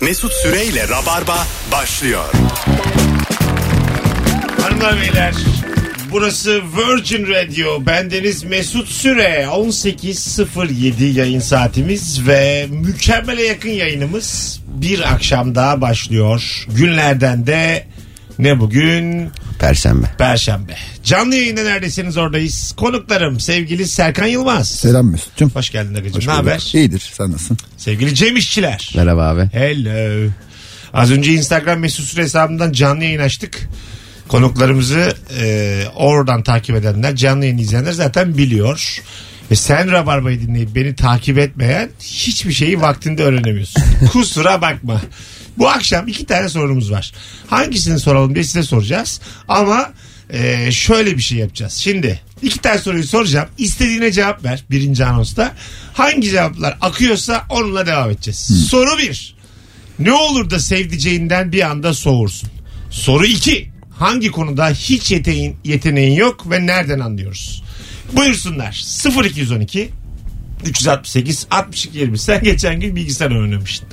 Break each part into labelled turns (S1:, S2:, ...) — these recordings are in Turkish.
S1: Mesut Süreyle Rabarba başlıyor.
S2: Hanımlar beyler burası Virgin Radio. Bendeniz Mesut Süre. 18.07 yayın saatimiz ve mükemmele yakın yayınımız bir akşam daha başlıyor. Günlerden de ne bugün?
S3: Perşembe.
S2: Perşembe. Canlı yayında neredesiniz oradayız. Konuklarım sevgili Serkan Yılmaz.
S4: Selam Mesut'cum.
S2: Hoş geldin Agıcım. Ne haber?
S4: İyidir sen nasılsın?
S2: Sevgili Cem İşçiler.
S3: Merhaba abi.
S2: Hello. Az önce Instagram mesut süre hesabından canlı yayın açtık. Konuklarımızı e, oradan takip edenler, canlı yayın izleyenler zaten biliyor. Ve sen Rabarba'yı dinleyip beni takip etmeyen hiçbir şeyi vaktinde öğrenemiyorsun. Kusura bakma. Bu akşam iki tane sorumuz var. Hangisini soralım diye size soracağız. Ama e, şöyle bir şey yapacağız. Şimdi iki tane soruyu soracağım. İstediğine cevap ver birinci anonsta. Hangi cevaplar akıyorsa onunla devam edeceğiz. Soru bir. Ne olur da sevdiceğinden bir anda soğursun. Soru 2. Hangi konuda hiç yeteneğin, yeteneğin yok ve nereden anlıyoruz? Buyursunlar. 0212 368 62 20. Sen geçen gün bilgisayar oynamıştın.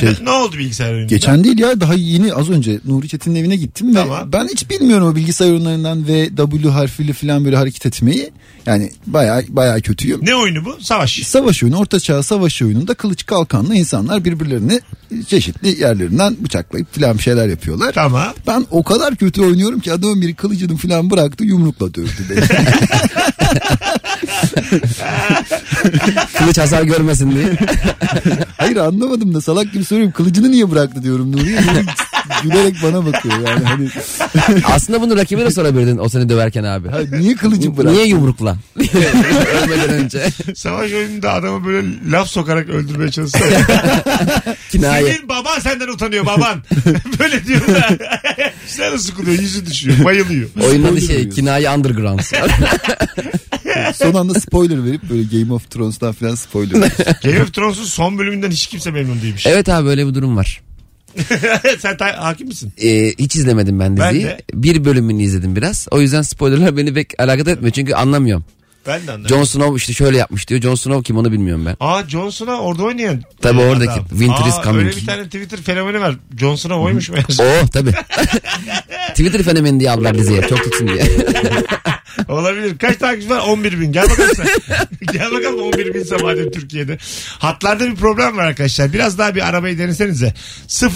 S4: şey-
S2: ne oldu bilgisayar oyununda?
S4: Geçen değil ya daha yeni az önce Nuri Çetin'in evine gittim ve
S2: Tamam.
S4: ben hiç bilmiyorum o bilgisayar oyunlarından ve W harfiyle falan böyle hareket etmeyi. Yani baya baya kötüyüm.
S2: Ne oyunu bu? Savaş.
S4: Savaş oyunu, orta çağ savaş oyununda kılıç kalkanlı insanlar birbirlerini çeşitli yerlerinden bıçaklayıp falan bir şeyler yapıyorlar.
S2: Tamam.
S4: Ben o kadar kötü oynuyorum ki adamın biri kılıcını falan bıraktı yumrukla dövdü beni.
S3: Kılıç hasar görmesin diye.
S4: Hayır anlamadım da salak gibi soruyorum kılıcını niye bıraktı diyorum Nuri'ye. Gülerek bana bakıyor yani hani
S3: Aslında bunu rakibine sorabilirdin o seni döverken abi.
S4: "Ha, niye kılıcı bıraktı?
S3: Niye yumrukla? Ölmeden önce.
S2: Savaş oyununda adamı böyle laf sokarak öldürmeye çalışıyor.
S3: Kinaye.
S2: Senin baban senden utanıyor baban. böyle diyor da. Sen nasıl sıkılıyor? Yüzü düşüyor. Bayılıyor.
S3: Oyunun adı
S4: Spoiler
S3: şey
S4: veriyorsun.
S3: kinaye underground.
S4: Son anda spoiler verip böyle Game of Thrones'tan falan spoiler veriyorsun.
S2: Game of Thrones'un son bölümünden hiç kimse memnun değilmiş.
S3: evet abi böyle bir durum var.
S2: Sen ta- hakim misin?
S3: Ee, hiç izlemedim ben
S2: Ben
S3: diziyi.
S2: de.
S3: Bir bölümünü izledim biraz. O yüzden spoilerlar beni pek alakadar etmiyor. Çünkü anlamıyorum.
S2: Ben de anladım.
S3: Jon Snow işte şöyle yapmış diyor. Jon Snow kim onu bilmiyorum ben.
S2: Aa Jon Snow orada oynayan.
S3: Tabii
S2: e,
S3: oradaki.
S2: adam.
S3: Winter
S2: Aa,
S3: is coming.
S2: Öyle bir tane Twitter fenomeni var. Jon Snow oymuş meğerse.
S3: Oo Oh, tabii. Twitter fenomeni diye aldılar diziye. Çok tutsun diye.
S2: Olabilir. Kaç takipçi var? 11 bin. Gel bakalım sen. Gel bakalım 11 bin madem Türkiye'de. Hatlarda bir problem var arkadaşlar. Biraz daha bir arabayı denesenize.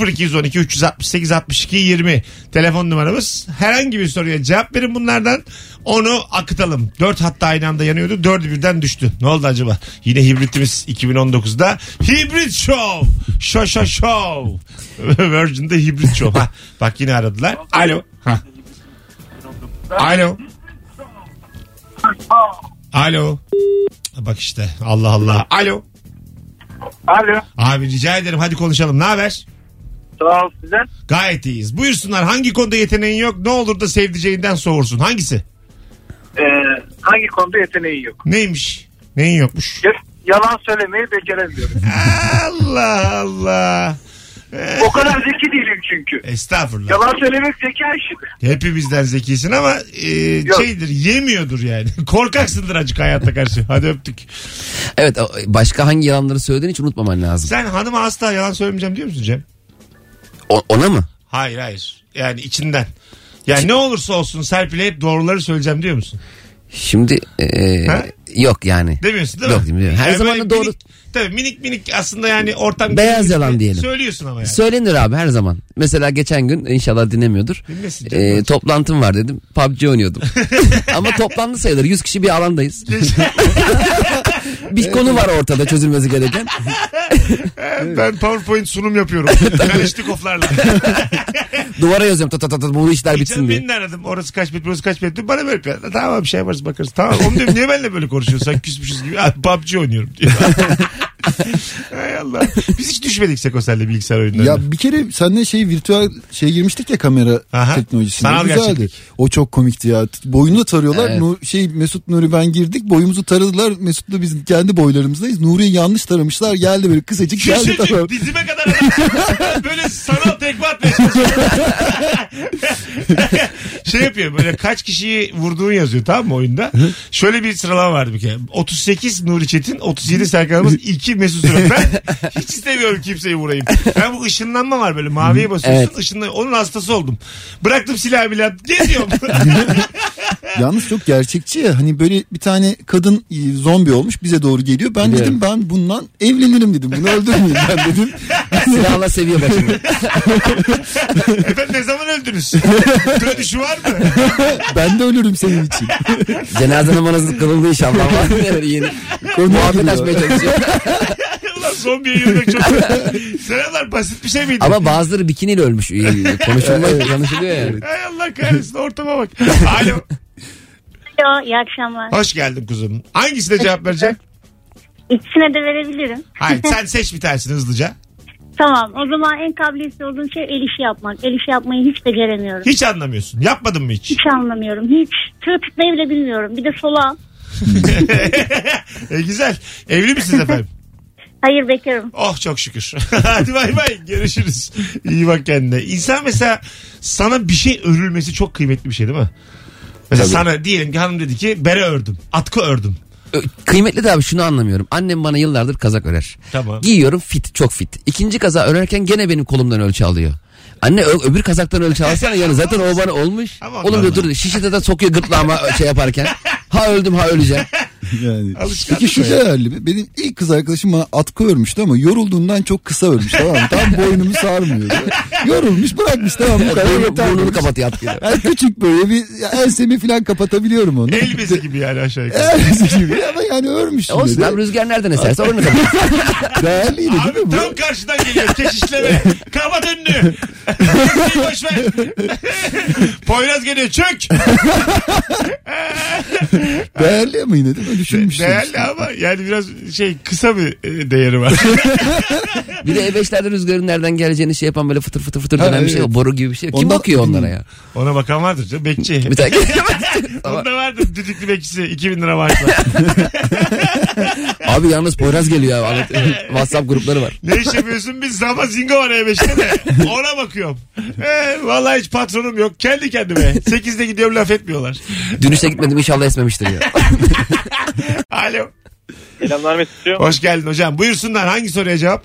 S2: 0212 368 62 20 telefon numaramız. Herhangi bir soruya cevap verin bunlardan. Onu akıtalım. 4 hatta aynı anda yanıyordu. 4'ü birden düştü. Ne oldu acaba? Yine hibritimiz 2019'da. Hibrit Show. Şo şo show. Virgin'de hibrit show. Ha, bak yine aradılar. Alo. Ha. Alo. Alo. Bak işte Allah Allah. Alo.
S5: Alo.
S2: Abi rica ederim hadi konuşalım. Ne haber?
S5: Sağ ol size.
S2: Gayet iyiyiz. Buyursunlar hangi konuda yeteneğin yok ne olur da sevdiceğinden soğursun. Hangisi?
S5: Ee, hangi konuda yeteneği yok?
S2: Neymiş? Neyin yokmuş?
S5: Ya- Yalan söylemeyi beceremiyorum.
S2: Allah Allah. Eh,
S5: o kadar zeki değilim çünkü.
S2: Estağfurullah.
S5: Yalan söylemek zeki şey. aşırı.
S2: Hepimizden zekisin ama eh,
S5: Yok.
S2: şeydir yemiyordur yani. Korkaksındır acık hayatta karşı. Hadi öptük.
S3: Evet o- başka hangi yalanları söylediğini hiç unutmaman lazım.
S2: Sen hanıma asla yalan söylemeyeceğim diyor musun Cem?
S3: O- ona mı?
S2: Hayır hayır. Yani içinden. Yani ne olursa olsun Serpil'e hep doğruları söyleyeceğim diyor musun?
S3: Şimdi e,
S2: Ha?
S3: yok yani.
S2: Demiyorsun değil mi?
S3: Yok, demiyorum. Her zaman
S2: böyle
S3: da doğru-
S2: Minik, tabii minik minik aslında yani ortam...
S3: Beyaz yalan diyelim.
S2: Söylüyorsun ama yani.
S3: Söylenir abi her zaman. Mesela geçen gün inşallah dinlemiyordur.
S2: Dinlesin canım.
S3: E, toplantım var dedim. PUBG oynuyordum. Ama toplantı sayılır. 100 kişi bir alandayız. bir konu var ortada çözülmesi gereken.
S2: ben PowerPoint sunum yapıyorum. Kalışnikoflarla.
S3: Duvara yazıyorum. Tut tut tut bu işler
S2: Geçen
S3: bitsin diye.
S2: beni de aradım. Orası kaç metre, burası kaç metre. Bana böyle yapıyor. Tamam bir şey yaparız bakarız. Tamam. Oğlum diyorum niye benimle böyle konuşuyorsun? Sanki küsmüşüz gibi. Abi, PUBG oynuyorum diyor. Hay Allah. Biz hiç düşmedik Sekosel'le bilgisayar oyunlarına.
S4: ya bir kere seninle şey virtüel şey girmiştik ya kamera
S2: Aha.
S4: teknolojisine.
S2: Sanal
S4: Güzeldi.
S2: gerçeklik.
S4: O çok komikti ya. Boyunu da tarıyorlar.
S3: Evet.
S4: Nur- şey Mesut Nuri ben girdik. Boyumuzu taradılar. Mesut'la biz kendi boylarımızdayız. Nuri'yi yanlış taramışlar. Geldi böyle kısacık geldi
S2: Küçücük
S4: tamam.
S2: dizime kadar adam. böyle sanal tekme atmaya çalışıyor. şey yapıyor böyle kaç kişiyi vurduğun yazıyor tamam mı oyunda. Şöyle bir sıralama vardı bir kere. 38 Nuri Çetin, 37 Serkan Yılmaz, 2 Mesut Süre. Ben hiç istemiyorum kimseyi vurayım. Ben bu ışınlanma var böyle maviye basıyorsun
S3: Evet.
S2: ışınlan- Onun hastası oldum. Bıraktım silahı bile geziyorum.
S4: Yalnız çok gerçekçi ya hani böyle bir tane kadın e, zombi olmuş bize doğru geliyor. Ben
S3: Biliyorum.
S4: dedim ben bundan evlenirim dedim. Bunu öldürmeyeyim ben dedim.
S3: Silahla seviye başını.
S2: Efendim ne zaman öldünüz? Dönüşü var mı?
S4: Ben de ölürüm senin için.
S3: Cenaze namazı kılındı inşallah. Ama böyle yeni. Muhabbet
S4: giriyor.
S3: açmaya çalışıyor.
S2: Ulan zombiye yürümek çok... Selamlar basit bir şey miydi?
S3: Ama bazıları bikiniyle ölmüş. Ee, Konuşulma konuşuluyor yani.
S2: Hay Allah kahretsin ortama bak. Alo.
S6: Alo iyi akşamlar.
S2: Hoş geldin kuzum. Hangisine cevap vereceksin?
S6: İkisine de verebilirim.
S2: Hayır sen seç bir tanesini hızlıca.
S6: Tamam o zaman en kabiliyetli olduğum şey el işi yapmak. El işi yapmayı hiç beceremiyorum.
S2: Hiç anlamıyorsun. Yapmadın mı hiç?
S6: Hiç anlamıyorum. Hiç. Tığ tutmayı bile bilmiyorum. Bir de sola.
S2: E, güzel. Evli misiniz efendim?
S6: Hayır bekarım.
S2: Oh çok şükür. Hadi bay bay görüşürüz. İyi bak kendine. İnsan mesela sana bir şey örülmesi çok kıymetli bir şey değil mi? Mesela sana diyelim ki hanım dedi ki bere ördüm. Atkı ördüm.
S3: Ö- Kıymetli de abi şunu anlamıyorum. Annem bana yıllardır kazak örer.
S2: Tamam.
S3: Giyiyorum fit çok fit. İkinci kaza örerken gene benim kolumdan ölçü alıyor. Anne ö- öbür kazaktan ölçü alsana yani zaten o bana olmuş.
S2: Ama
S3: Oğlum diyor
S2: ondan
S3: dur şişede de sokuyor gırtlağıma şey yaparken. Ha öldüm ha öleceğim.
S4: Yani.
S2: Alışkanlık
S4: Peki şu
S2: o ya.
S4: değerli. Benim ilk kız arkadaşım bana atkı örmüştü ama yorulduğundan çok kısa örmüş tamam mı? Tam boynumu sarmıyordu. Yorulmuş bırakmış tamam bu kadar
S3: Burnu,
S4: yeter.
S3: burnunu
S4: demiş.
S3: kapatıyor atkıyla.
S4: Yani küçük böyle bir ensemi falan kapatabiliyorum onu.
S2: El bezi gibi yani aşağı yukarı.
S4: Elbise gibi ama yani örmüş. yine
S3: E Olsun
S4: de.
S3: abi rüzgar nereden eserse orada kapatıyor.
S4: Değerliydi değil mi
S2: Abi
S4: bu?
S2: tam karşıdan geliyor keşişleme. Kapat önünü. Kimseyi Boş ver. Poyraz geliyor çök.
S4: Değerli ama yine değil mi? Düşünmüşsün.
S2: Değerli ama yani biraz şey kısa bir e, değeri var.
S3: Bir de E5'lerde rüzgarın nereden geleceğini şey yapan böyle fıtır fıtır fıtır
S4: Ha,
S3: dönen bir şey.
S4: evet.
S3: yok. Boru gibi bir şey. yok. Kim
S4: Ondan-
S3: bakıyor onlara ya?
S2: Ona bakan vardır canım. Bekçi.
S3: Bir tane Ama-
S2: Onda vardır düdüklü bekçisi. 2000 lira maaşla.
S3: Abi yalnız Poyraz geliyor abi. WhatsApp grupları var.
S2: ne iş yapıyorsun? Biz zama zingo var E5'te de. Ona bakıyorum. E, vallahi hiç patronum yok. Kendi kendime. 8'de gidiyorum laf etmiyorlar.
S3: Dün işe gitmedim inşallah esmemiştir ya.
S2: Alo.
S7: Selamlar Mesut'cum.
S2: Hoş geldin hocam. Buyursunlar hangi soruya cevap?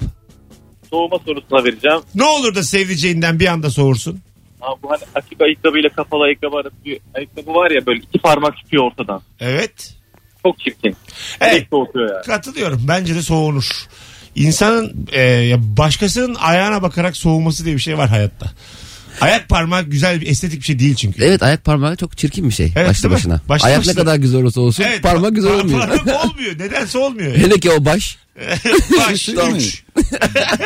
S7: Soğuma sorusuna vereceğim.
S2: Ne olur da sevdiceğinden bir anda soğursun.
S7: Abi bu hani açık ayakkabıyla kapalı ayakkabı arası bir ayakkabı var ya böyle iki parmak çıkıyor ortadan.
S2: Evet.
S7: Çok çirkin.
S2: Evet.
S7: Direkt soğutuyor yani.
S2: Katılıyorum. Bence de soğunur. İnsanın e, ya başkasının ayağına bakarak soğuması diye bir şey var hayatta. Ayak parmağı güzel bir estetik bir şey değil çünkü.
S3: Evet ayak parmağı çok çirkin bir şey
S2: Evet,
S3: başlı
S2: değil mi?
S3: başına.
S2: Başlı
S3: ayak
S2: başına.
S3: ne kadar güzel olursa olsun
S2: Evet,
S3: parmak güzel
S2: par-
S3: olmuyor.
S2: Parmak olmuyor. Nedense olmuyor.
S3: Hele ki o baş.
S2: Baş,
S4: Değil mi?
S2: üç,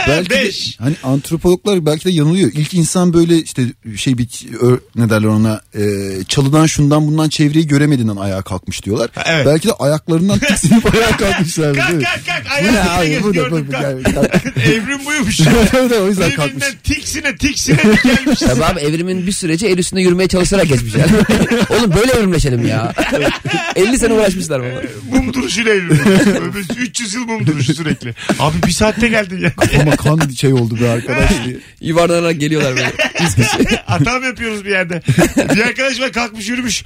S4: belki de,
S2: beş.
S4: hani antropologlar belki de yanılıyor. İlk insan böyle işte şey bir ö- ne derler ona e, çalıdan şundan bundan çevreyi göremediğinden ayağa kalkmış diyorlar.
S2: Ha, evet.
S4: Belki de ayaklarından tiksinip ayağa kalkmışlar.
S2: Kalk
S4: değil mi?
S2: kalk kalk.
S4: Bu ne
S2: Ayağını
S4: abi
S2: gördüm
S4: bu ne? Bu- bu-
S2: kalk.
S4: yani- kalk.
S2: Evrim buymuş.
S4: Evet, o yüzden kalkmış.
S2: Birbirinden tiksine tiksine dikelmiş.
S3: Tabii abi evrimin bir süreci el üstünde yürümeye çalışarak geçmiş yani. Oğlum böyle evrimleşelim ya. 50 sene uğraşmışlar baba.
S2: mum duruşuyla evrim. 300 yıl mum duruşu sürekli. Abi bir saatte geldin ya.
S4: Ama kan şey oldu bir arkadaş diye.
S3: Yuvarlanarak geliyorlar böyle.
S2: Atam yapıyoruz bir yerde. Bir arkadaş var kalkmış yürümüş.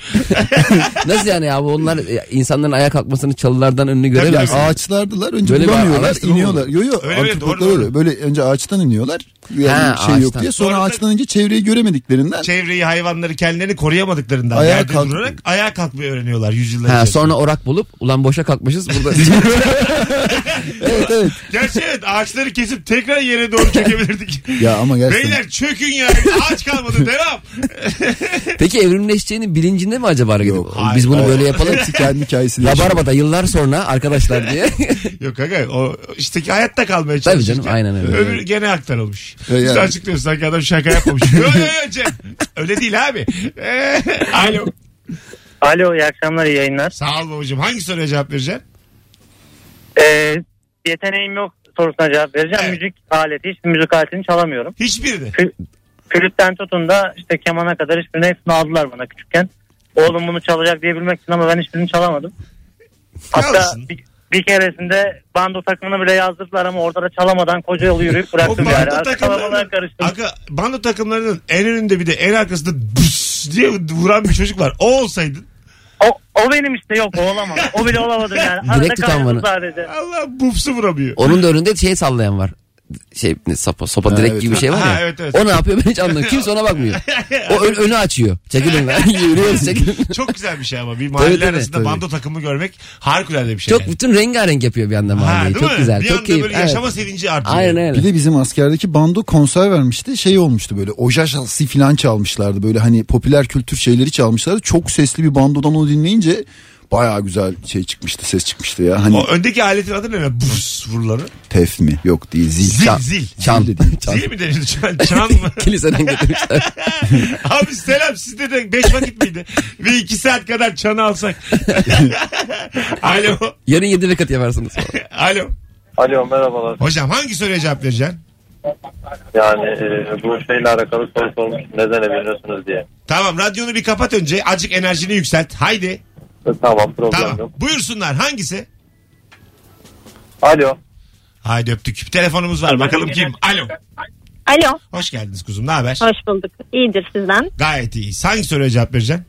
S3: Nasıl yani abi onlar e, insanların ayağa kalkmasını çalılardan önünü göremiyor.
S4: Yani ağaçlardılar önce
S3: Böyle bir
S4: bulamıyorlar
S3: araştırma
S4: iniyorlar. Yo yo
S2: Öyle, öyle,
S4: antropologlar
S2: doğru, doğru.
S4: öyle. Böyle önce ağaçtan iniyorlar. Yani
S3: Ha,
S4: şey yok
S3: ağaçtan.
S4: diye. Sonra
S2: Sonra da-
S4: ağaçtan ince çevreyi göremediklerinden
S2: çevreyi hayvanları kendilerini koruyamadıklarından
S4: Ayağa
S2: yerde
S4: kalk-
S2: durarak ayağa kalkmayı öğreniyorlar yüzyıllar
S3: Ha,
S2: içerisinde.
S3: sonra orak bulup ulan boşa kalkmışız burada.
S4: Evet evet.
S2: Gerçi evet ağaçları kesip tekrar yere doğru çökebilirdik.
S4: Ya ama gerçekten.
S2: Beyler çökün ya ağaç kalmadı devam.
S3: Peki evrimleşeceğinin bilincinde mi acaba hareket
S4: Yok,
S3: ediyor? Biz bunu
S2: hayır.
S3: Hani böyle yapalım.
S4: Hepsi kendi hikayesini yaşıyor.
S3: Rabarba'da yıllar sonra arkadaşlar diye.
S2: Yok aga o işte ki hayatta kalmaya
S3: Tabii
S2: çalışırken.
S3: canım, aynen öyle.
S2: Öbür gene aktarılmış.
S4: E
S2: Siz
S4: yani.
S2: açıklıyorsunuz sanki adam şaka yapmamış. Yo, yo, yo, Cem. Öyle değil abi. Ee, Alo.
S8: Alo iyi akşamlar iyi yayınlar.
S2: Sağ ol babacığım. Hangi soruya cevap vereceksin?
S8: Ee, yeteneğim yok sorusuna cevap vereceğim.
S2: Evet.
S8: Müzik aleti hiçbir müzik aletini çalamıyorum.
S2: Hiçbirini.
S8: Flütten tutun da işte kemana kadar hiçbirini hepsini aldılar bana küçükken. Oğlum bunu çalacak diye bilmek için ama ben hiçbirini çalamadım. Hatta
S2: Çalsın.
S8: bir, bir keresinde bando takımını bile yazdırdılar ama orada da çalamadan koca yolu yürüyüp
S2: O
S8: bıraktım yani.
S2: bando
S8: Artık
S2: takımlarının,
S8: kalabalığa karıştım.
S2: Aga, bando takımlarının en önünde bir de en arkasında bus diye vuran bir çocuk var. O olsaydın.
S8: O, o benim işte yok o olamaz. O bile olamadı yani. Arada
S3: Direkt tutan
S8: kaynadı
S3: bana.
S8: sadece.
S2: Allah bufsu vuramıyor.
S3: Onun da önünde şey sallayan var. Şey ne, sopa, sopa
S4: Ha,
S3: direkt
S4: evet,
S3: gibi bir şey var
S2: Ha,
S3: ya.
S2: evet, evet.
S3: O ne yapıyor ben hiç anlamıyorum. Kimse ona bakmıyor. O ön- önü açıyor. Çekilin lan. Yürüyoruz çekilin.
S2: Çok güzel bir şey ama bir mahalle
S3: Tabii, tabii,
S2: arasında
S3: tabii.
S2: bando takımı görmek harikulade bir şey.
S3: Çok
S2: yani.
S3: bütün rengarenk yapıyor bir anda
S2: Ha,
S3: mahalleyi.
S2: değil
S3: Çok
S2: mi?
S3: güzel.
S2: Bir
S3: çok
S2: anda
S3: keyif.
S2: böyle
S3: Evet.
S2: yaşama sevinci artıyor.
S3: Aynen öyle.
S4: Bir de bizim askerdeki bando konser vermişti. Şey olmuştu böyle Ojajasi falan çalmışlardı. Böyle hani popüler kültür şeyleri çalmışlardı. Çok sesli bir bandodan onu dinleyince bayağı güzel şey çıkmıştı ses çıkmıştı ya. Hani
S2: O öndeki aletin adı ne? Bufs vuruları.
S4: tef mi? Yok değil zil.
S2: Zil
S4: Çan-
S2: zil.
S3: Çan. Çan.
S2: Zil mi denildi? Çan, çan mı?
S3: Kiliseden getirmişler.
S2: Abi selam sizde de 5 vakit miydi? Bir 2 saat kadar çanı alsak. Alo.
S3: Yarın yedi rekat yaparsınız. falan.
S2: Alo.
S7: Alo merhabalar.
S2: Hocam hangi soruya cevap vereceksin?
S7: Yani e, bu şeyle alakalı soru sormuş. Neden evleniyorsunuz diye.
S2: Tamam radyonu bir kapat önce. Azıcık enerjini yükselt. Haydi.
S7: Tamam problem
S2: Tamam. Buyursunlar hangisi?
S7: Alo.
S2: Haydi öptük. Telefonumuz var. Bakalım kim? Alo.
S6: Alo.
S2: Hoş geldiniz kuzum. Ne haber?
S6: Hoş bulduk. İyidir sizden.
S2: Gayet iyi. Hangi soruya cevap vereceksin?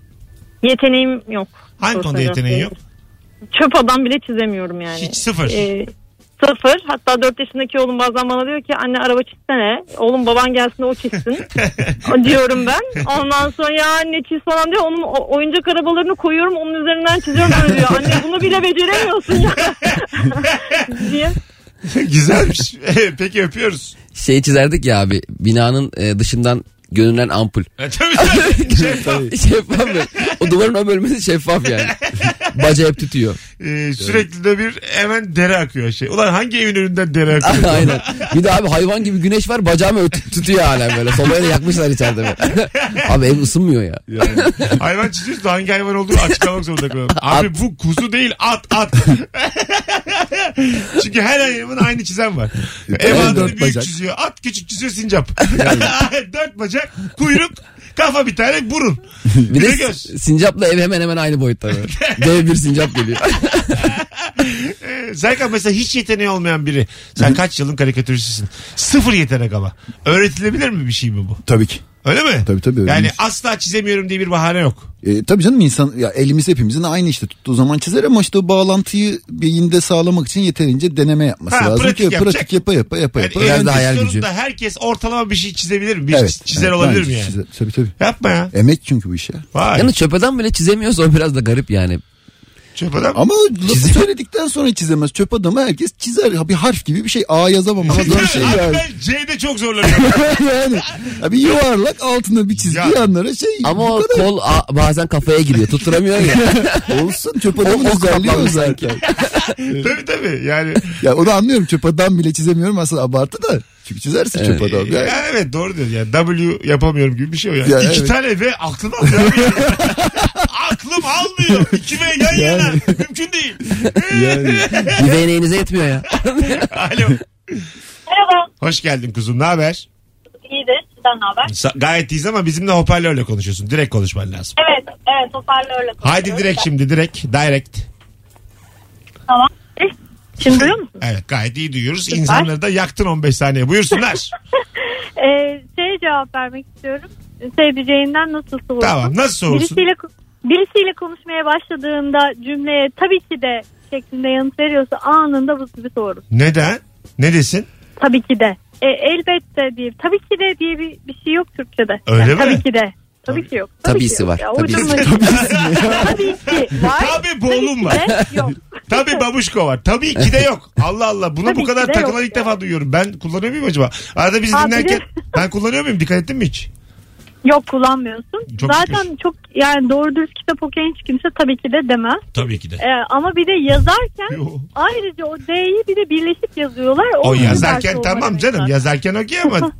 S6: Yeteneğim yok.
S2: Hangi konuda
S6: Sosyal
S2: yeteneğin yok?
S6: medyada. Çöp adam bile çizemiyorum yani.
S2: Hiç sıfır.
S6: Ee, sıfır. Hatta 4 yaşındaki oğlum bazen bana diyor ki anne araba çizsene. Oğlum baban gelsin de o çizsin. O diyorum ben. Ondan sonra ya anne çiz falan diyor. Onun o- oyuncak arabalarını koyuyorum onun üzerinden çiziyorum. Böyle diyor. Anne bunu bile beceremiyorsun ya. diye.
S2: Güzelmiş. Peki öpüyoruz.
S3: Şey çizerdik ya abi. Binanın e, dışından görünen ampul.
S2: E, Tabii tabii. Şeffaf.
S3: şeffaf mı? O duvarın o bölmesi şeffaf yani. Baca hep tutuyor.
S2: Ee, sürekli de bir hemen dere akıyor şey. Ulan hangi evin önünden dere akıyor?
S3: Aynen. Bir de abi hayvan gibi güneş var bacağımı öt- tutuyor hala böyle. Sobayı da yakmışlar içeride böyle. abi ev ısınmıyor ya.
S2: hayvan çiziyoruz da hangi hayvan olduğunu açıklamak zorunda kalıyorum. Abi bu kuzu değil at at. Çünkü her hayvanın aynı çizem var. Ev
S3: Evet,
S2: adını
S3: dört
S2: büyük
S3: bacak.
S2: çiziyor. At küçük çiziyor sincap. dört bacak kuyruk kafa bir tane burun.
S3: Bir de
S2: Bir de göz.
S3: s- sincapla ev hemen hemen aynı boyutta böyle. Dev bir sincap geliyor.
S2: Ee, Serkan mesela hiç yeteneği olmayan biri. Sen kaç yılın karikatüristisin. Sıfır yetenek ama. Öğretilebilir mi bir şey mi bu?
S4: Tabii ki.
S2: Öyle mi?
S4: Tabii, tabii,
S2: Yani
S4: öğrenilir.
S2: asla çizemiyorum diye bir bahane yok.
S4: E, tabii canım insan ya elimiz hepimizin aynı işte tuttuğu zaman çizer ama işte o bağlantıyı beyinde sağlamak için yeterince deneme yapması
S2: Ha,
S4: lazım
S2: pratik
S4: ki
S2: yapacak.
S4: pratik yapa yapa yapa
S2: Yani
S4: yapa.
S3: Biraz
S2: en
S3: da hayal
S2: sonunda
S3: gücü.
S2: herkes ortalama bir şey çizebilir mi? Bir
S4: Evet,
S2: çizer
S4: evet,
S2: olabilir
S4: bence
S2: mi yani?
S4: çizer. Tabii tabii.
S2: Yapma ya.
S4: Emek çünkü bu işe.
S2: Vay.
S3: Yani çöp adam bile çizemiyorsa o biraz da garip yani.
S2: Çöp adam.
S4: Ama o lafı söyledikten sonra çizemez. Çöp adamı herkes çizer. Ha, Bir harf gibi bir şey. A yazamam ama zor şey
S2: Abi
S4: yani.
S2: ben C'de çok zorlanıyorum.
S4: yani. ha, Bir yuvarlak altında bir çizgi
S2: Ya.
S4: yanlara şey.
S3: Ama
S4: bu
S3: o
S4: kadar.
S3: kol a- bazen kafaya giriyor. Tutturamıyor ya.
S4: Olsun çöp adamın
S3: o
S4: özelliği o
S3: kaplanmış
S4: zaten.
S2: tabii tabii. Yani
S4: ya onu anlıyorum. Çöp adam bile çizemiyorum aslında abartı da. Çünkü çizersin çöp adam. Yani.
S2: Ya evet doğru diyor. Yani W yapamıyorum gibi bir şey o yani.
S4: Ya
S2: İki
S4: evet.
S2: tane V aklım almıyor. aklım almıyor. İki V yan yana. Mümkün değil.
S3: Bir beğeneğinize yetmiyor ya.
S2: Alo.
S6: Merhaba.
S2: Hoş geldin kuzum. Ne haber?
S6: İyidir. Sizden ne haber?
S2: Sa- Gayet iyiyiz ama bizimle hoparlörle konuşuyorsun. Direkt konuşman lazım.
S6: Evet. Evet. Hoparlörle
S2: Haydi direkt şimdi direkt. Direct.
S6: Tamam. Şimdi duyuyor musun?
S2: Evet gayet iyi duyuyoruz. İnsanları da yaktın 15 saniye. Buyursunlar.
S6: Ee, şey cevap vermek istiyorum. Sevdiceğinden nasıl soğursun?
S2: tamam nasıl soğursun?
S6: Birisiyle, birisiyle konuşmaya başladığında cümleye tabii ki de şeklinde yanıt veriyorsa anında buz gibi soğurun.
S2: Neden? Ne desin?
S6: Tabii ki de. E, elbette diye. Tabii ki de diye bir, bir şey yok Türkçe'de.
S2: Öyle
S6: Yani
S2: mi?
S6: Tabii ki de. Tabii, ki yok. Tabii
S3: Tabisi
S6: ki yok.
S3: var.
S6: Ya,
S3: Tabisi.
S6: uydurma işte. Tabii ki var.
S2: Tabii boğulum
S6: ki
S2: var.
S6: de yok.
S2: Tabii babuşko var. Tabii ki de yok. Allah Allah. Buna
S6: Tabii
S2: bu
S6: ki
S2: kadar
S6: de
S2: takılan
S6: yok
S2: ilk
S6: ya.
S2: defa duyuyorum. Ben kullanıyor muyum acaba? Arada bizi
S6: Aa,
S2: dinlerken
S6: bilir.
S2: ben kullanıyor muyum? Dikkat ettin mi hiç?
S6: Yok kullanmıyorsun.
S2: Çok
S6: Zaten
S2: şükür.
S6: çok yani doğru dürüst kitap okuyan hiç kimse tabii ki de demez.
S2: Tabii ki de.
S6: Ee, ama bir de yazarken
S2: Yo.
S6: ayrıca o D'yi bir de birleşik yazıyorlar.
S2: O
S6: yüzden
S2: yazarken
S6: soğuma
S2: tamam
S6: demek
S2: canım.
S6: var.
S2: Yazarken okey ama tabii-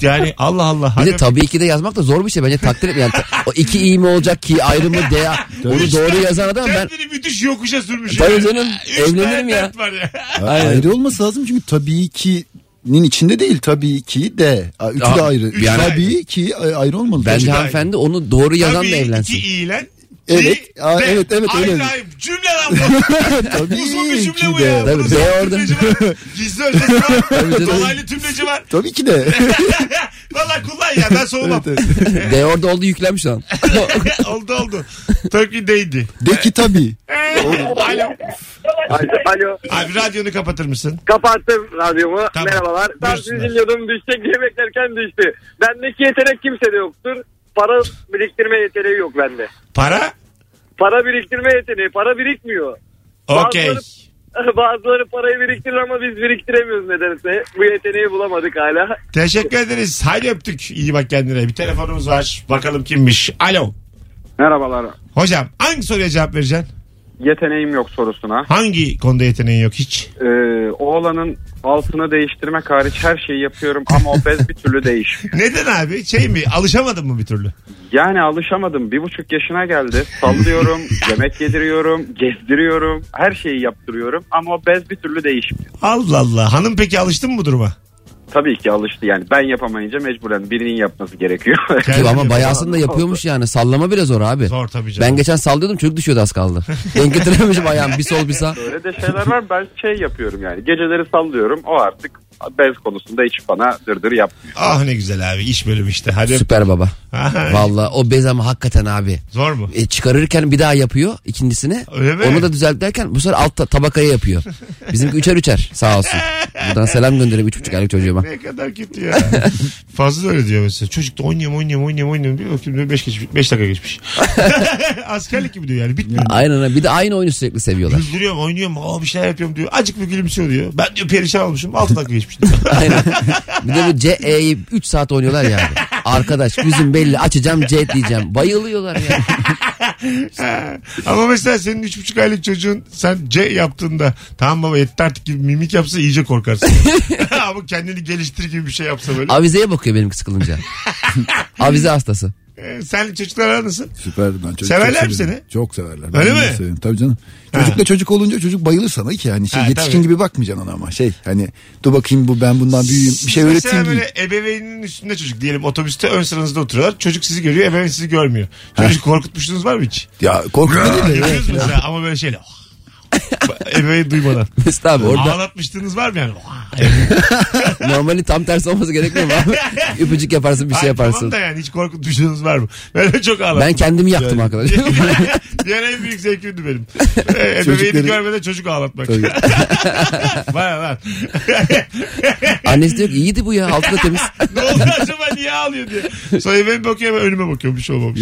S2: yani Allah Allah.
S3: Bir de
S2: Hadi-
S3: tabii ki de yazmak da zor bir şey. Bence takdir et. Yani ta- o iki iyi mi olacak ki ayrı mı de Onu doğru yazan adam ben
S2: Kendini müthiş yokuşa sürmüş.
S3: Tabii
S2: Yani.
S3: canım,
S2: Üç
S3: evlenirim
S2: tane
S3: ya.
S2: dert var ya.
S4: Ya Ayrı olması lazım çünkü tabii ki nin içinde değil tabii ki de. Aa, Üçü
S3: Aa,
S4: de ayrı.
S3: üç de
S4: tabii ki ay- ayrı olmalı.
S3: bence
S4: Tabii.
S3: hanımefendi onu doğru yazanla
S2: Tabii
S3: evlensin.
S2: iki iyilen
S4: Evet.
S2: Di-
S4: Aa,
S2: de.
S4: evet evet
S2: Ayrı
S4: öyle.
S2: ayrı cümle lan bu.
S4: Tabii
S2: Uzun bir
S4: ki
S2: cümle bu
S4: de.
S2: ya.
S3: Tabii,
S2: Bunun
S3: de
S2: zaten
S3: orada.
S2: tümleci var. Gizli öznesi var.
S3: canım.
S2: Dolaylı tümleci var.
S4: Tabii ki de.
S2: Valla kullan ya ben soğumam.
S4: Evet,
S3: De orada oldu yüklenmiş lan.
S2: oldu oldu. Turkey değdi.
S4: De ki tabii.
S2: Alo.
S5: Alo.
S2: Abi radyonu kapatır mısın?
S5: Kapattım radyomu.
S2: Tamam.
S5: Merhabalar. Ben
S2: Buyursunlar.
S5: sizi dinliyordum. Düşecek diye beklerken düştü. Bendeki yetenek kimsede yoktur. Para biriktirme yeteneği yok bende.
S2: Para?
S5: Para biriktirme yeteneği. Para birikmiyor.
S2: Okey.
S5: Bazıları parayı biriktirir ama biz biriktiremiyoruz nedense. Bu yeteneği bulamadık hala.
S2: Teşekkür ederiz. Haydi öptük. İyi bak kendine. Bir telefonumuz var. Bakalım kimmiş. Alo.
S9: Merhabalar.
S2: Hocam hangi soruya cevap vereceksin?
S9: Yeteneğim yok sorusuna.
S2: Hangi konuda yeteneğin yok hiç?
S9: Ee, oğlanın altını değiştirmek hariç her şeyi yapıyorum ama o bez bir türlü değişmiyor.
S2: Neden abi? Şey mi? Alışamadın mı bir türlü?
S9: Yani alışamadım. Bir buçuk yaşına geldi. Sallıyorum, yemek yediriyorum, gezdiriyorum. Her şeyi yaptırıyorum ama o bez bir türlü değişmiyor.
S2: Allah Allah. Hanım peki alıştın mı bu duruma?
S9: Tabii ki alıştı yani. Ben yapamayınca mecburen birinin yapması gerekiyor.
S2: Kendin
S3: ama
S2: mi?
S3: bayağısını da yapıyormuş yani. Sallama bile zor abi.
S2: Zor tabii canım.
S3: Ben geçen sallıyordum çocuk düşüyordu az kaldı. Denk getirememişim ayağım bir sol bir sağ.
S9: Öyle de şeyler var. Ben şey yapıyorum yani. Geceleri sallıyorum. O artık bez konusunda hiç bana dırdır yapmıyor.
S2: Ah ne güzel abi. iş bölümü işte. Hadi. öp-
S3: Süper baba.
S2: Aha,
S3: Vallahi o bez ama hakikaten abi.
S2: Zor mu?
S3: E, çıkarırken bir daha yapıyor ikincisini.
S2: Öyle mi?
S3: Onu da düzelt derken bu sefer altta tabakaya yapıyor. Bizimki üçer üçer sağ olsun. Buradan selam göndereyim üç buçuk aylık çocuğuma.
S2: Ne kadar kötü ya. Fazla öyle diyor mesela. Çocuk da oynayayım oynayayım oynayayım oynayayım diyor. Bakayım diyor 5 geçmiş, beş dakika geçmiş. Askerlik gibi diyor yani. Bitmiyor.
S3: Aynen öyle. bir de aynı oyunu sürekli seviyorlar.
S2: Güldürüyorum oynuyorum aa bir şeyler yapıyorum diyor. Acık bir gülümsüyor diyor. Ben diyor perişan olmuşum 6 dakika geçmiş diyor.
S3: Aynen. Bir de bu CE'yi 3 saat oynuyorlar yani. Arkadaş yüzüm belli açacağım C diyeceğim. Bayılıyorlar ya.
S2: Ama mesela senin 3,5 aylık çocuğun sen C yaptığında tamam baba yetti artık gibi mimik yapsa iyice korkarsın. Ama kendini geliştir gibi bir şey yapsa böyle.
S3: Avizeye bakıyor benimki sıkılınca. Avize hastası.
S2: Ee, sen çocuklar aran nasıl?
S4: Süperdi ben çocuk
S2: Severler
S4: çok
S2: mi
S4: severim.
S2: seni?
S4: Çok severler.
S2: Öyle
S4: Ben de
S2: mi?
S4: severim. Tabii canım. Çocukla çocuk olunca çocuk bayılır sana ki yani şey,
S2: Ha,
S4: yetişkin
S2: tabii.
S4: gibi bakmayacaksın ona ama şey hani dur bakayım bu ben bundan büyüğüm bir şey öğreteyim
S2: Mesela
S4: değil.
S2: böyle ebeveyninin üstünde çocuk diyelim otobüste ön sıranızda oturuyorlar. Çocuk sizi görüyor ebeveyn sizi görmüyor. Çocuk korkutmuştunuz var mı hiç?
S4: Ya korkma değil de.
S2: Görüyoruz mesela ama böyle şeyle. oh. ebeveyn duymadan.
S3: Mesut abi orada
S2: Ağlatmıştınız var mı yani? Oh.
S3: normali tam tersi olması gerekmiyor mu abi? Öpücük yaparsın bir şey
S2: Ay, tamam
S3: yaparsın.
S2: da yani hiç korkutmuştunuz var mı? Ben de çok ağladım.
S3: Ben kendimi yaktım arkadaşlar.
S2: Yani en büyük zevkimdi benim. Ee, Ebeveyni
S4: Çocukları-
S2: görmeden çocuk ağlatmak. Baya lan.
S3: Annesi diyor ki iyiydi bu ya altı da temiz.
S2: ne oldu acaba niye ağlıyor diye. Sonra ben bakıyorum önüme bakıyorum bir şey olmamış.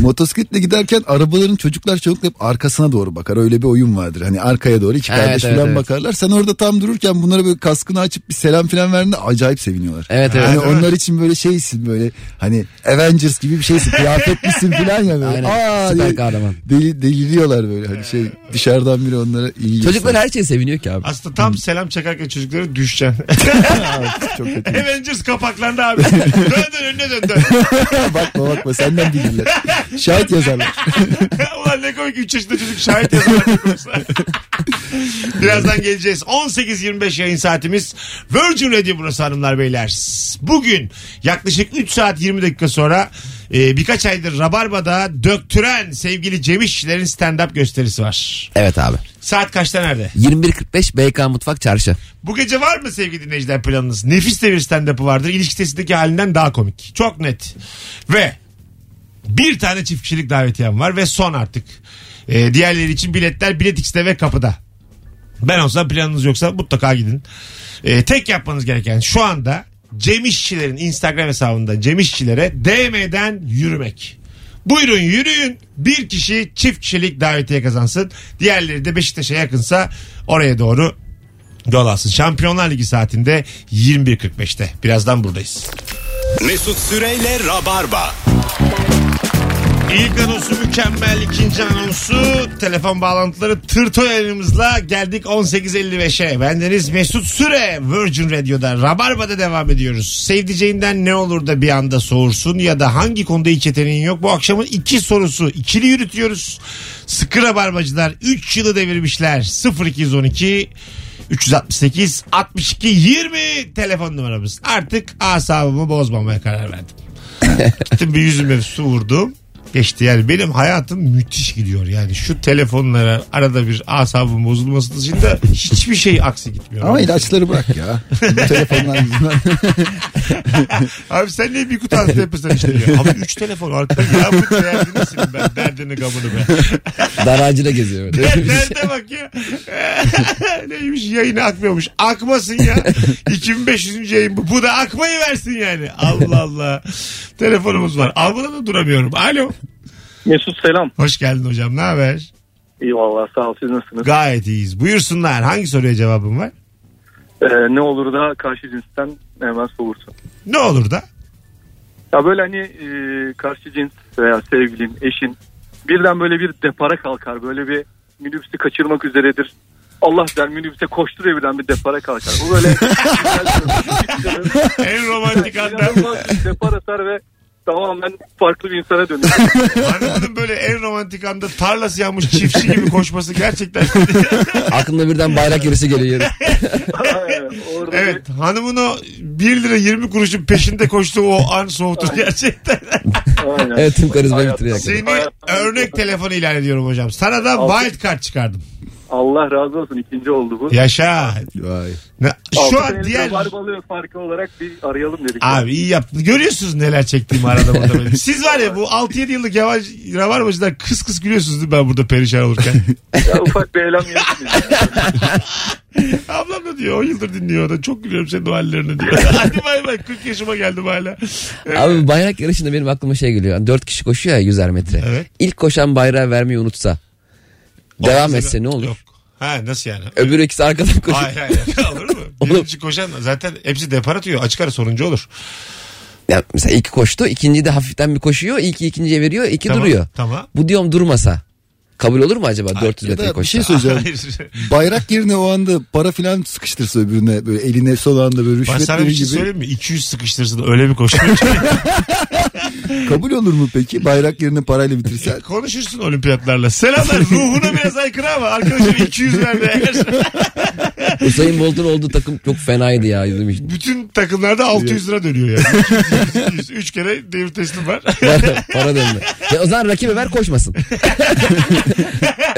S4: Motosikletle giderken arabaların çocuklar çoğunlukla hep arkasına doğru bakar. Öyle bir oyun vardır. Hani arkaya doğru iki
S3: Evet,
S4: kardeş
S3: evet,
S4: falan
S3: evet.
S4: bakarlar. Sen orada tam dururken bunlara böyle kaskını açıp bir selam falan verdiğinde acayip seviniyorlar.
S3: Evet, evet.
S4: Hani
S2: Ha, değil mi?
S4: onlar için böyle şeysin böyle hani Avengers gibi bir şeysin. Kıyafetlisin falan ya böyle.
S3: Aynen.
S4: Aa
S3: Süper
S4: diye
S3: kahraman.
S4: deli- deliriyorlar böyle hani şey dışarıdan biri onlara iyi.
S3: Çocuklar
S4: yapsın.
S3: her şeye seviniyor ki abi.
S2: Aslında tam selam çakarken çocuklara düşeceksin.
S4: Çok kötü.
S2: Avengers kapaklandı abi. dön dön önüne dön dön.
S4: bakma bakma senden bilirler. Şahit yazarlar.
S2: Ulan ne komik 3 yaşında çocuk şahit yazar. ne komikse. Birazdan geleceğiz. 18.25 yayın saatimiz. Virgin Radio burası hanımlar beyler. Bugün yaklaşık 3 saat 20 dakika sonra e, birkaç aydır Rabarba'da döktüren sevgili Cem İşçilerin stand-up gösterisi var.
S3: Evet abi.
S2: Saat kaçta nerede?
S3: 21.45 BK Mutfak Çarşı.
S2: Bu gece var mı sevgili dinleyiciler planınız? Nefis de bir stand-up'ı vardır. İlişki testindeki halinden daha komik. Çok net. Ve bir tane çift kişilik davetiyem var ve son artık. Ee, diğerleri için biletler Bilet X'te ve kapıda. Ben olsam planınız yoksa mutlaka gidin. Ee, tek yapmanız gereken şu anda Cem İşçilerin Instagram hesabında Cem İşçilere DM'den yürümek. Buyurun yürüyün. Bir kişi çift kişilik davetiye kazansın. Diğerleri de Beşiktaş'a yakınsa oraya doğru yol alsın. Şampiyonlar Ligi saatinde 21.45'te. Birazdan buradayız.
S1: Mesut Süreyle Rabarba.
S2: İlk anonsu mükemmel, ikinci anonsu telefon bağlantıları tırto yayınımızla geldik 18.55'e. Bendeniz Mesut Süre Virgin Radio'da Rabarba'da devam ediyoruz. Sevdiceğinden ne olur da bir anda soğursun ya da hangi konuda hiç yeteneğin yok. Bu akşamın iki sorusu ikili yürütüyoruz. Sıkı Rabarbacılar 3 yılı devirmişler 0212 368 62 20 telefon numaramız. Artık asabımı bozmamaya karar verdim. Gittim bir yüzüme su vurdum. geçti. Yani benim hayatım müthiş gidiyor. Yani şu telefonlara arada bir asabım bozulması dışında hiçbir şey aksi gitmiyor.
S4: Ama
S2: Abi.
S4: ilaçları bırak ya. Bu telefonlar yüzünden.
S2: Abi sen niye bir kutu antidepresan içtin ya? Abi üç telefon arkada ya bu derdini silin ben. Derdini gamını be.
S3: Dar ağacına geziyor. böyle.
S2: Nerede bak ya? Neymiş yayını akmıyormuş. Akmasın ya. 2500. yayın bu. Bu da akmayı versin yani. Allah Allah. Telefonumuz var. Almadan da duramıyorum. Alo.
S7: Mesut selam.
S2: Hoş geldin hocam. Ne haber?
S7: İyi vallahi sağ ol siz nasılsınız?
S2: Gayet iyiyiz. Buyursunlar. Hangi soruya cevabın var?
S7: Ee, ne olur da karşı cinsten hemen soğursun.
S2: Ne olur da?
S7: Ya böyle hani e, karşı cins veya sevgilin, eşin birden böyle bir depara kalkar. Böyle bir minibüsü kaçırmak üzeredir. Allah der minibüse koşturuyor birden bir depara kalkar. Bu böyle
S2: En romantik anda.
S7: İnanılmaz şey. bir depar atar ve tamamen farklı bir insana dönüyor.
S2: Anladım böyle en romantik anda tarlası yanmış çiftçi gibi koşması gerçekten.
S3: Aklımda birden bayrak yarısı geliyor.
S7: Aynen. Orada
S2: evet hanımın o 1 lira 20 kuruşun peşinde koştuğu o an soğutur gerçekten.
S7: bir- aynen.
S3: Evet tüm karizmayı bitiriyor. hakikaten.
S2: Seni örnek telefon ilan ediyorum hocam. Sana da wild card çıkardım.
S7: Allah razı olsun ikinci oldu bu.
S2: Yaşa.
S4: Vay.
S2: Ne-
S7: Altı
S2: Şu an
S7: senelik
S2: diğer...
S7: rabarbalı farkı olarak bir arayalım dedik.
S2: Abi iyi yaptın. Görüyorsunuz neler çektiğimi arada burada benim. Siz var ya bu 6-7 yıllık yavaş ravarmacılar kıs kıs gülüyorsunuz değil mi ben burada perişan olurken.
S7: Ya ufak bir eylem yapayım.
S2: Ablam da diyor 10 yıldır dinliyor o da çok gülüyorum senin o hallerine diyor. Hadi bay bay 40 yaşıma geldim hala. Ee,
S3: Abi bayrak yarışında benim aklıma şey geliyor. Hani Dört kişi koşuyor ya 100'er metre.
S2: Evet.
S3: İlk koşan bayrağı vermeyi unutsa. devam
S2: Mesela-
S3: etse ne olur?
S2: Yok. Ha nasıl yani?
S3: Öbür ikisi arkadan koşuyor.
S2: Hayır hayır olur mu? Birinci koşan zaten hepsi depar atıyor açık ara soruncu olur.
S3: Ya mesela ilk koştu. ikinci de hafiften bir koşuyor. İlki ikinciye veriyor. iki
S2: Tamam,
S3: duruyor.
S2: tamam.
S3: Bu diyorum durmasa. Kabul olur mu acaba 400
S4: Ya
S3: metre
S4: da bir
S3: koşsa?
S4: şey söyleyeceğim.
S2: Hayır.
S4: Bayrak yerine o anda para filan sıkıştırsa öbürüne böyle eline son anda böyle
S2: Ben
S4: rüşvet
S2: sana bir
S4: verir
S2: şey
S4: gibi.
S2: söyleyeyim mi? 200 sıkıştırsın öyle bir koşuyor.
S4: Kabul olur mu peki bayrak yerine parayla bitirsen?
S2: Konuşursun olimpiyatlarla. Selamlar ruhuna biraz aykırı ama arkadaşım 200 verdi.
S4: şey
S3: Usain Bolt'un olduğu takım çok fenaydı ya. Bizim için.
S2: Bütün takımlarda 600 lira dönüyor yani. 200, 200, 3 kere devir teslim var.
S3: Para- Para döndü. Ya o zaman rakibe ver koşmasın.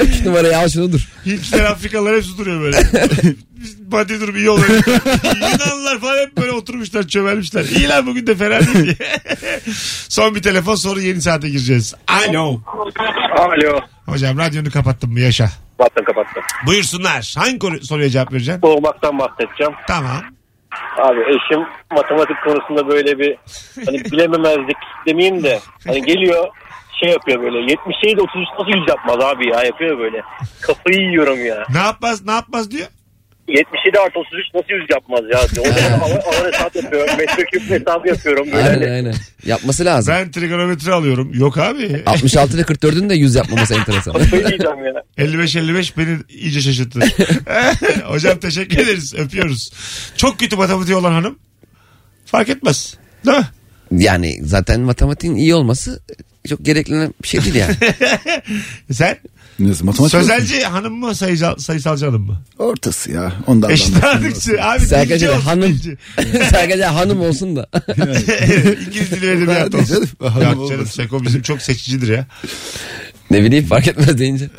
S3: Üç numarayı al şunu dur.
S2: Hintliler Afrikalılar hepsi duruyor böyle. Maddi durum iyi oluyor. Yunanlılar falan hep böyle oturmuşlar çömelmişler. İyi lan bugün de fena değil diye. Son bir telefon sonra yeni saate gireceğiz. Alo.
S7: Alo.
S2: Hocam radyonu kapattın mı yaşa.
S7: Battım kapattım.
S2: Buyursunlar. Hangi koru- soruya cevap vereceksin?
S7: Boğmaktan bahsedeceğim.
S2: Tamam.
S7: Abi eşim matematik konusunda böyle bir hani bilememezlik demeyeyim de hani geliyor şey yapıyor böyle 77 de 33 nasıl yüz yapmaz abi ya yapıyor böyle. Kafayı yiyorum ya.
S2: Ne yapmaz ne yapmaz diyor.
S7: 77 artı 33 nasıl yüz yapmaz ya diyor. O zaman ağır, ağır hesap yapıyorum. Metreküp hesap yapıyorum. Böyle hani
S3: Aynen aynen. Yapması lazım.
S2: Ben trigonometri alıyorum. Yok abi.
S3: 66 ile 44'ün de 100 yapmaması enteresan.
S7: kafayı yiyeceğim ya.
S2: 55-55 beni iyice şaşırttı. Hocam teşekkür ederiz. Öpüyoruz. Çok kötü matematiği olan hanım. Fark etmez. Değil mi?
S3: Yani zaten matematiğin iyi olması çok gerekli bir şey değil yani.
S2: E Sen
S4: Nasıl matematik?
S2: sözelci hanım mı sayıcal, sayısalcı hanım mı?
S4: Ortası ya. Ondan da
S2: Eşit
S4: anlamıyorum.
S2: ağırlıkçı. Abi
S3: Serkaç'a
S2: dilci
S3: da
S2: olsun,
S3: hanım.
S2: dilci.
S3: Serkaç'a hanım olsun da.
S2: İngiliz dili ve edebiyatı
S4: Hadi
S2: olsun.
S4: canım, hanım
S2: Yok canım
S4: olmasın.
S2: Seko bizim çok seçicidir ya.
S3: ne bileyim fark etmez deyince.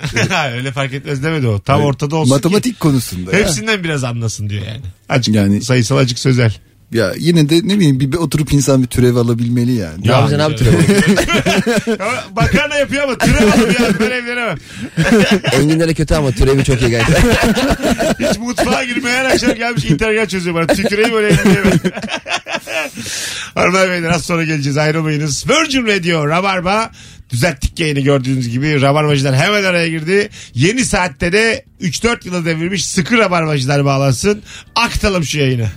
S2: Öyle fark etmez demedi o. Tam ortada olsun ki
S4: Matematik konusunda ya.
S2: hepsinden biraz anlasın diyor yani. Acık
S4: Yani-
S2: sayısal acık sözel.
S4: ya. yine de ne bileyim bir, bir oturup insan bir türev alabilmeli yani.
S3: Ne yapacaksın abi türevi?
S2: Ama Makarna yapıyor ama türev alıyor. ya. Ben evlenemem.
S3: Enginlere kötü ama türevi çok iyi gerçekten.
S2: Hiç mutfağa girmeye her akşam gelmiş intergal çözüyor bana. Tüküreyim öyle elini Hanımlar beyler az sonra geleceğiz ayrılmayınız. Virgin Radio Rabarba düzelttik yayını gördüğünüz gibi Rabarbacılar hemen araya girdi. Yeni saatte de 3-4 yıla devirmiş sıkı Rabarbacılar bağlansın. Aktalım şu yayını.